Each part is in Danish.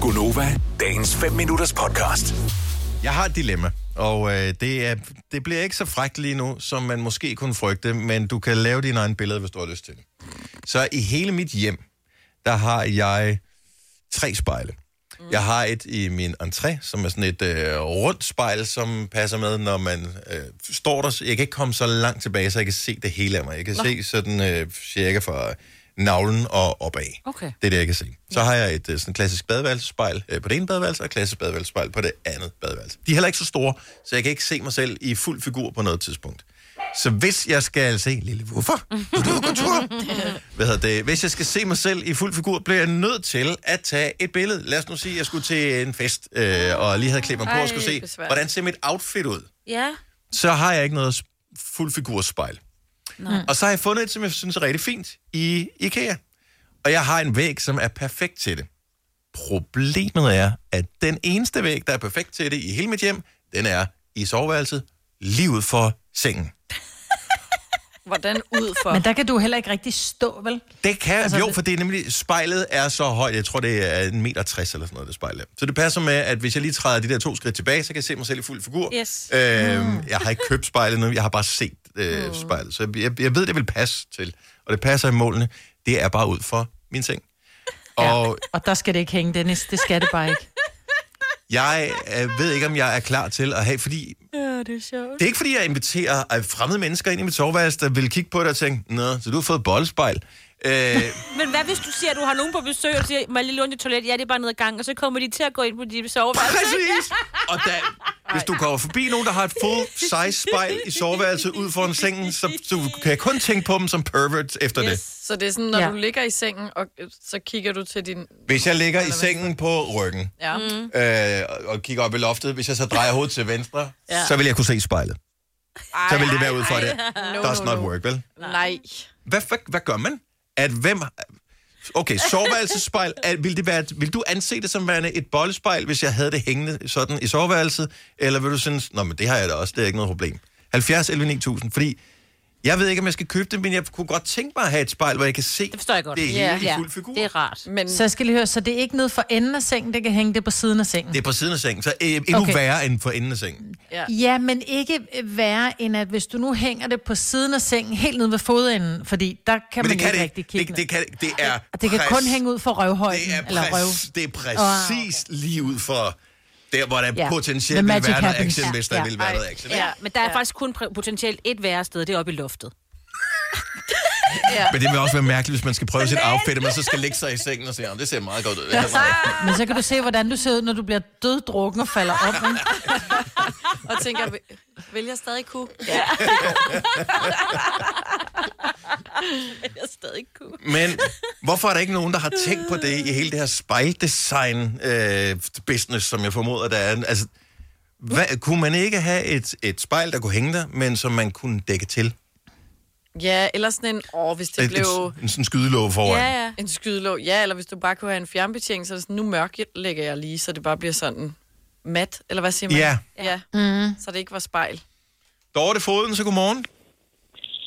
Gunova, dagens 5 minutters podcast. Jeg har et dilemma, og øh, det, er, det bliver ikke så frækt lige nu, som man måske kunne frygte, men du kan lave dine egne billeder, hvis du har lyst til det. Så i hele mit hjem, der har jeg tre spejle. Jeg har et i min entré, som er sådan et øh, rundt spejl, som passer med, når man øh, står der. Jeg kan ikke komme så langt tilbage, så jeg kan se det hele af mig. Jeg kan Nå. se sådan øh, cirka fra navlen og opad. Okay. Det er det, jeg kan se. Så har jeg et øh, sådan klassisk badeværelsespejl øh, på det ene badeværelse, og et klassisk badeværelsespejl på det andet badeværelse. De er heller ikke så store, så jeg kan ikke se mig selv i fuld figur på noget tidspunkt. Så hvis jeg skal se... Lille, hvorfor? Du er ude at gå tur. Hvad hedder det? Hvis jeg skal se mig selv i fuld figur, bliver jeg nødt til at tage et billede. Lad os nu sige, at jeg skulle til en fest, øh, og lige havde klædt mig på og skulle se, besvær. hvordan ser mit outfit ud? Ja. så har jeg ikke noget s- fuldfigurspejl. Nej. Og så har jeg fundet et, som jeg synes er rigtig fint i IKEA. Og jeg har en væg, som er perfekt til det. Problemet er, at den eneste væg, der er perfekt til det i hele mit hjem, den er i soveværelset, lige ud for sengen. Hvordan ud for? Men der kan du heller ikke rigtig stå, vel? Det kan, altså, Altså, jo, det- for det er nemlig, spejlet er så højt, jeg tror, det er 1,60 meter eller sådan noget, det spejl er. Så det passer med, at hvis jeg lige træder de der to skridt tilbage, så kan jeg se mig selv i fuld figur. Yes. Øhm, Jeg har ikke købt spejlet nu, jeg har bare set øh, spejlet. Så jeg, jeg ved, det vil passe til, og det passer i målene. Det er bare ud for min seng. Og Og der skal det ikke hænge, Dennis. Det skal det bare ikke. jeg øh, ved ikke, om jeg er klar til at have, fordi Ja, det er sjovt. Det er ikke, fordi jeg inviterer øh, fremmede mennesker ind i mit soveværelse, der vil kigge på det og tænke, nå, så du har fået boldspejl. Øh, Men hvad hvis du siger, at du har nogen på besøg, og siger, må jeg lige låne dit toilet? Ja, det er bare ned ad gangen, og så kommer de til at gå ind på dit soveværelse. Præcis! Og da, hvis du kommer forbi nogen, der har et full-size spejl i soveværelset ud foran sengen, så du kan kun tænke på dem som perverts efter yes. det. Så det er sådan, når Ja. ja. du ligger i sengen, og øh, så kigger du til din... Hvis jeg ligger i sengen på ryggen Ja. Mm. øh, og- og kigger op i loftet, hvis jeg så drejer hovedet til venstre, ja. Ja. så vil jeg kunne se spejlet. Så vil det være ud for det. No, Does not work, vel? Nej. Hvad, hvad, hvad gør man? At hvem... Okay, soveværelsespejl, er, vil, det være, vil du anse det som værende et bollespejl, hvis jeg havde det hængende sådan i soveværelset? Eller vil du synes, nå, men det har jeg da også, det er ikke noget problem. 70 11 9000, fordi jeg ved ikke, om jeg skal købe det, men jeg kunne godt tænke mig at have et spejl, hvor jeg kan se det, forstår jeg godt. det hele Ja. i fuld figur. Det er rart. Men Så jeg skal lige høre, så det er ikke nede for enden af sengen, det kan hænge det er på siden af sengen? Det er på siden af sengen, så øh, endnu okay. Okay. værre end for enden af sengen. ja. Ja, men ikke øh, værre end, at hvis du nu hænger det på siden af sengen, helt nede ved fodenden, fordi der kan Men det man kan ikke det rigtig ikke. Det, kigge det, ned. kan, det er Og det kan kun hænge ud for røvhøjden, Det er, eller præcis, røv. det er præcis oh, okay. lige ud for der, hvor der Ja. potentielt The vil magic være noget happens. action, hvis der Ja. vil være Ej. noget action. Ja, Ja. Ja. men der er faktisk kun pr- potentielt et værre sted, det er oppe i luftet. Men det vil også være mærkeligt, hvis man skal prøve sit outfit, og man så skal lægge sig i sengen og sige, "Åh, det ser meget godt ud. Altså, Det her meget." Men så kan du se, hvordan du ser ud, når du bliver døddrukken og falder op. Ikke? Og tænker, vil- vil jeg stadig kunne? Jeg er stadig cool. Men hvorfor er der ikke nogen, der har tænkt på det i hele det her spejldesign-business, som jeg formoder, der er? Altså, hvad, kunne man ikke have et, et spejl, der kunne hænge der, men som man kunne dække til? Ja, eller sådan en... Åh, hvis det Et, blev... et, en sådan skydelåge foran. Ja, ja. En skydelåg. Ja, eller hvis du bare kunne have en fjernbetjening, så er det sådan, nu mørklægger jeg lige, så det bare bliver sådan mat, eller hvad siger man? Ja. ja. Mm. Mhm. Så det ikke var spejl. Dorte Foden, så godmorgen.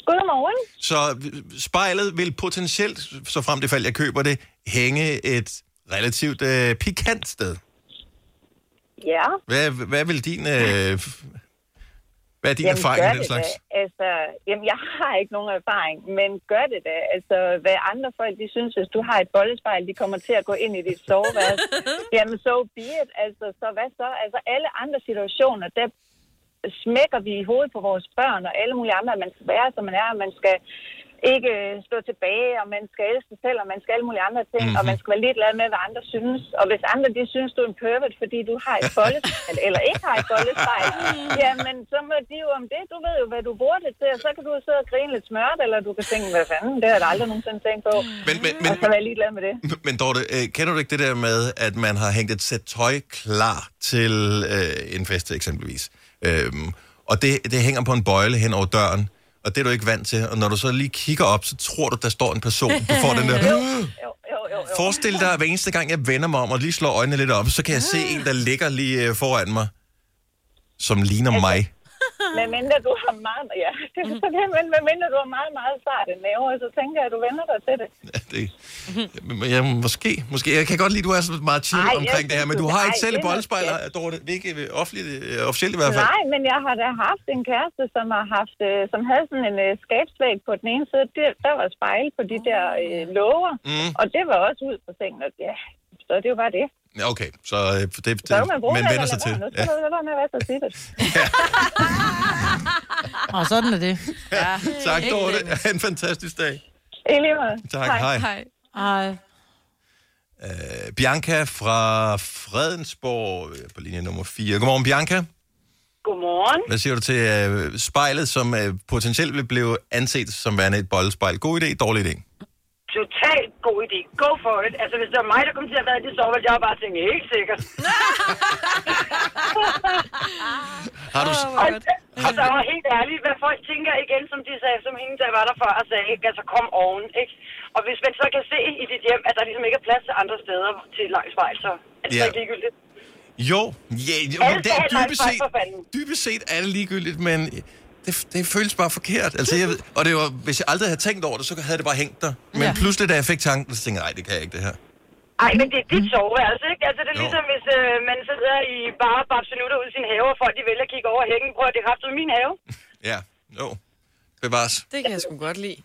Godmorgen. Så spejlet vil potentielt, så frem det fald jeg køber det, hænge et relativt øh, pikant sted. Ja. Hvad, hvad vil din... Øh, f- hvad er din jamen, erfaring gør med den det slags? Da. Altså, jamen, jeg har ikke nogen erfaring, men gør det da. Altså, hvad andre folk, de synes, hvis du har et bollespejl, de kommer til at gå ind i dit soveværelse. jamen, so be it. Altså, så hvad så? Altså, alle andre situationer, der smækker vi i hovedet på vores børn og alle mulige andre, at man skal være, som man er, og man skal ikke øh, stå tilbage, og man skal elske sig selv, og man skal alle mulige andre ting, mm-hmm. og Mhm. man skal være ligeglad med, hvad andre synes. Og hvis andre, de synes, du er en pervert, fordi du har et bollespejl, eller ikke har et bollespejl, jamen så må de jo om det. Du ved jo, hvad du bruger det til, og så kan du jo sidde og grine lidt smørt, eller du kan tænke, hvad fanden, det har jeg da aldrig nogensinde tænkt på. Men, men, Og så men, være ligeglad med det. men Dorte, øh, kender du ikke det der med, at man har hængt et sæt tøj klar til øh, en fest eksempelvis? Øhm, og det, det hænger på en bøjle hen over døren, og det er du ikke vant til. Og når du så lige kigger op, så tror du, der står en person. Du får den der... Jo, jo, jo, jo. Forestil dig, at hver eneste gang, jeg vender mig om og lige slår øjnene Ah. Altså- lidt op, så kan jeg se en, der ligger lige øh, foran mig, som ligner mig. Med mindre du har meget, ja, det Mm. er så det, men med mindre du har meget, meget sarte næver, så tænker jeg, at du vender dig til det. Ja, det, ja, måske, måske. Jeg kan godt lide, at du er så meget chill Ej, Ej, jeg omkring det her, men synes, du du- har ikke ej, selv et det er noget boldspejler, Dorte. Det er ikke øh, offentligt, øh, officielt i hvert fald. Nej, men jeg har da haft en kæreste, som har haft, øh, som havde sådan en øh, skabsvæg på den ene side. Der, der var spejl på de der øh, låger, mm. og det var også ud på sengen, og ja, så det var bare det. Ja, okay, så øh, det, det, Så kan man bruge man det, vender sig eller lade til. være. Nu skal Ja. du lade være med at være så sikkert. Og sådan er det. Tak, Dorte. Ha' en fantastisk dag. I lige måde. Tak, hej. hej. Hej. Ej. Øh, Bianca fra Fredensborg øh, på linje nummer 4. Godmorgen, Bianca. Godmorgen. Hvad siger du til øh, spejlet, som øh, potentielt vil blive anset som værende et boldspejl? God idé, dårlig idé? Totalt god idé. Go for it. Altså, hvis det var mig, der kom til at være i det, så ville jeg bare tænke, helt sikkert. Har du, Og, og så var helt ærligt, hvad folk tænker igen, som de sagde, som hende, der var der før og sagde, ikke? altså kom oven, ikke? Og hvis man så kan se i dit hjem, at der ligesom ikke er plads til andre steder til et langt spejl, så er det Ja. yeah. ikke ligegyldigt. Jo, ja, jo Alle men det skal have et er dybest nej-spejl, set, for fanden. dybest set er det ligegyldigt, men det, det føles bare forkert. Altså, jeg ved, og det var, hvis jeg aldrig havde tænkt over det, så havde det bare hængt der. Men ja. Ja. pludselig, da jeg fik tanken, så tænkte jeg, nej, det kan jeg ikke, det her. Ej, men det er dit soveværelse, ikke? Altså, det er Mm. Jo. ligesom, hvis øh, man sidder i bare babsenutter ude i sin have, og folk de vælger at kigge over hækken. Prøv at det er kraftigt min have. Ja, jo. Bevares. Det kan jeg sgu godt lide.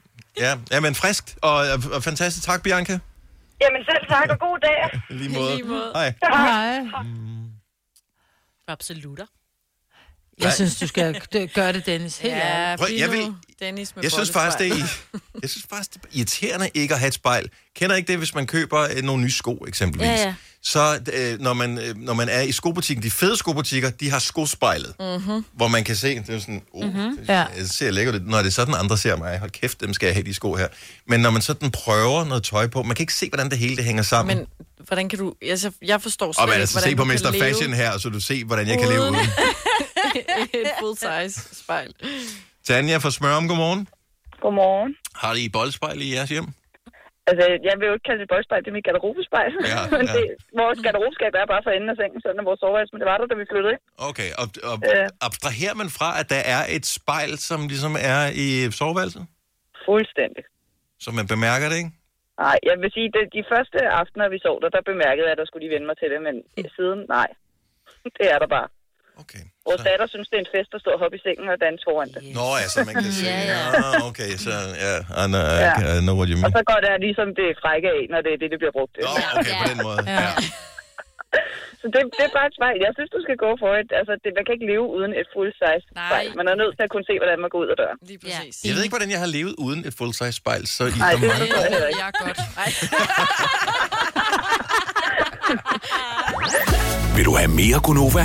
Ja, ja men friskt og, og fantastisk. Tak, Bianca. Jamen selv tak, og god dag. I Lige måde. lige måde. Hej. Ej. Absolutter. Jeg synes, du skal d- gøre det, Dennis. Helt ja. Ja, Prøv, jeg bliv nu, vil- Dennis med Jeg synes faktisk, det er, jeg synes faktisk, det er irriterende ikke at have et spejl. Kender ikke det, hvis man køber øh, nogle nye sko, eksempelvis? Ja, ja. Så øh, når, man, øh, når man er i skobutikken, de fede skobutikker, de har skospejlet, Mhm. mm-hmm. hvor man kan se, det er jo sådan, oh, mm-hmm. Ja. det ser lækkert ud, når det er sådan, andre ser mig. Hold kæft, dem skal jeg have de sko her. Men når man sådan prøver noget tøj på, man kan ikke se, hvordan det hele det hænger sammen. Men, Men hvordan kan du... Altså, jeg forstår slet og man ikke, altså, hvordan se på du kan Mr. leve Fashion her, så du ser, hvordan jeg kan leve uden. uden. et full-size spejl. Tanja fra Smørum, godmorgen. Godmorgen. Har I boldspejl i jeres hjem? Altså, jeg vil jo ikke kalde det et boldspejl, det er mit garderobespejl. Ja, Men ja. det, vores garderobeskab er bare for enden af sengen, sådan er vores soveværelse, men det var der, da vi flyttede. ikke? Okay, og, og Ja. abstraherer man fra, at der er et spejl, som ligesom er i soveværelset? Fuldstændig. Så man bemærker det, ikke? Nej, jeg vil sige, at de første aftener, vi sov der, der bemærkede jeg, at der skulle de vende mig til det, men siden, nej. Det er der bare. Okay. Vores Så. datter synes, det er en fest at stå og hoppe i sengen og danse foran det. Nå ja, så man kan se. Ja, ja. ja. Ah, okay, så ja, yeah, I, know, Ja. I know what you Og mean. så går det ligesom det frække af, når det er det, det bliver brugt til. Nå, okay, på den måde. Ja. Så det, det er bare et spejl. Jeg synes, du skal gå for et. Altså, det, man kan ikke leve uden et full-size Nej. spejl. Man er nødt til at kunne se, hvordan man går ud af døren. Lige præcis. Jeg ved ikke, hvordan jeg har levet uden et full-size spejl, så i Nej, så det mange forstår år. jeg heller ikke. Jeg er godt. Ej. Vil du have mere Gunova?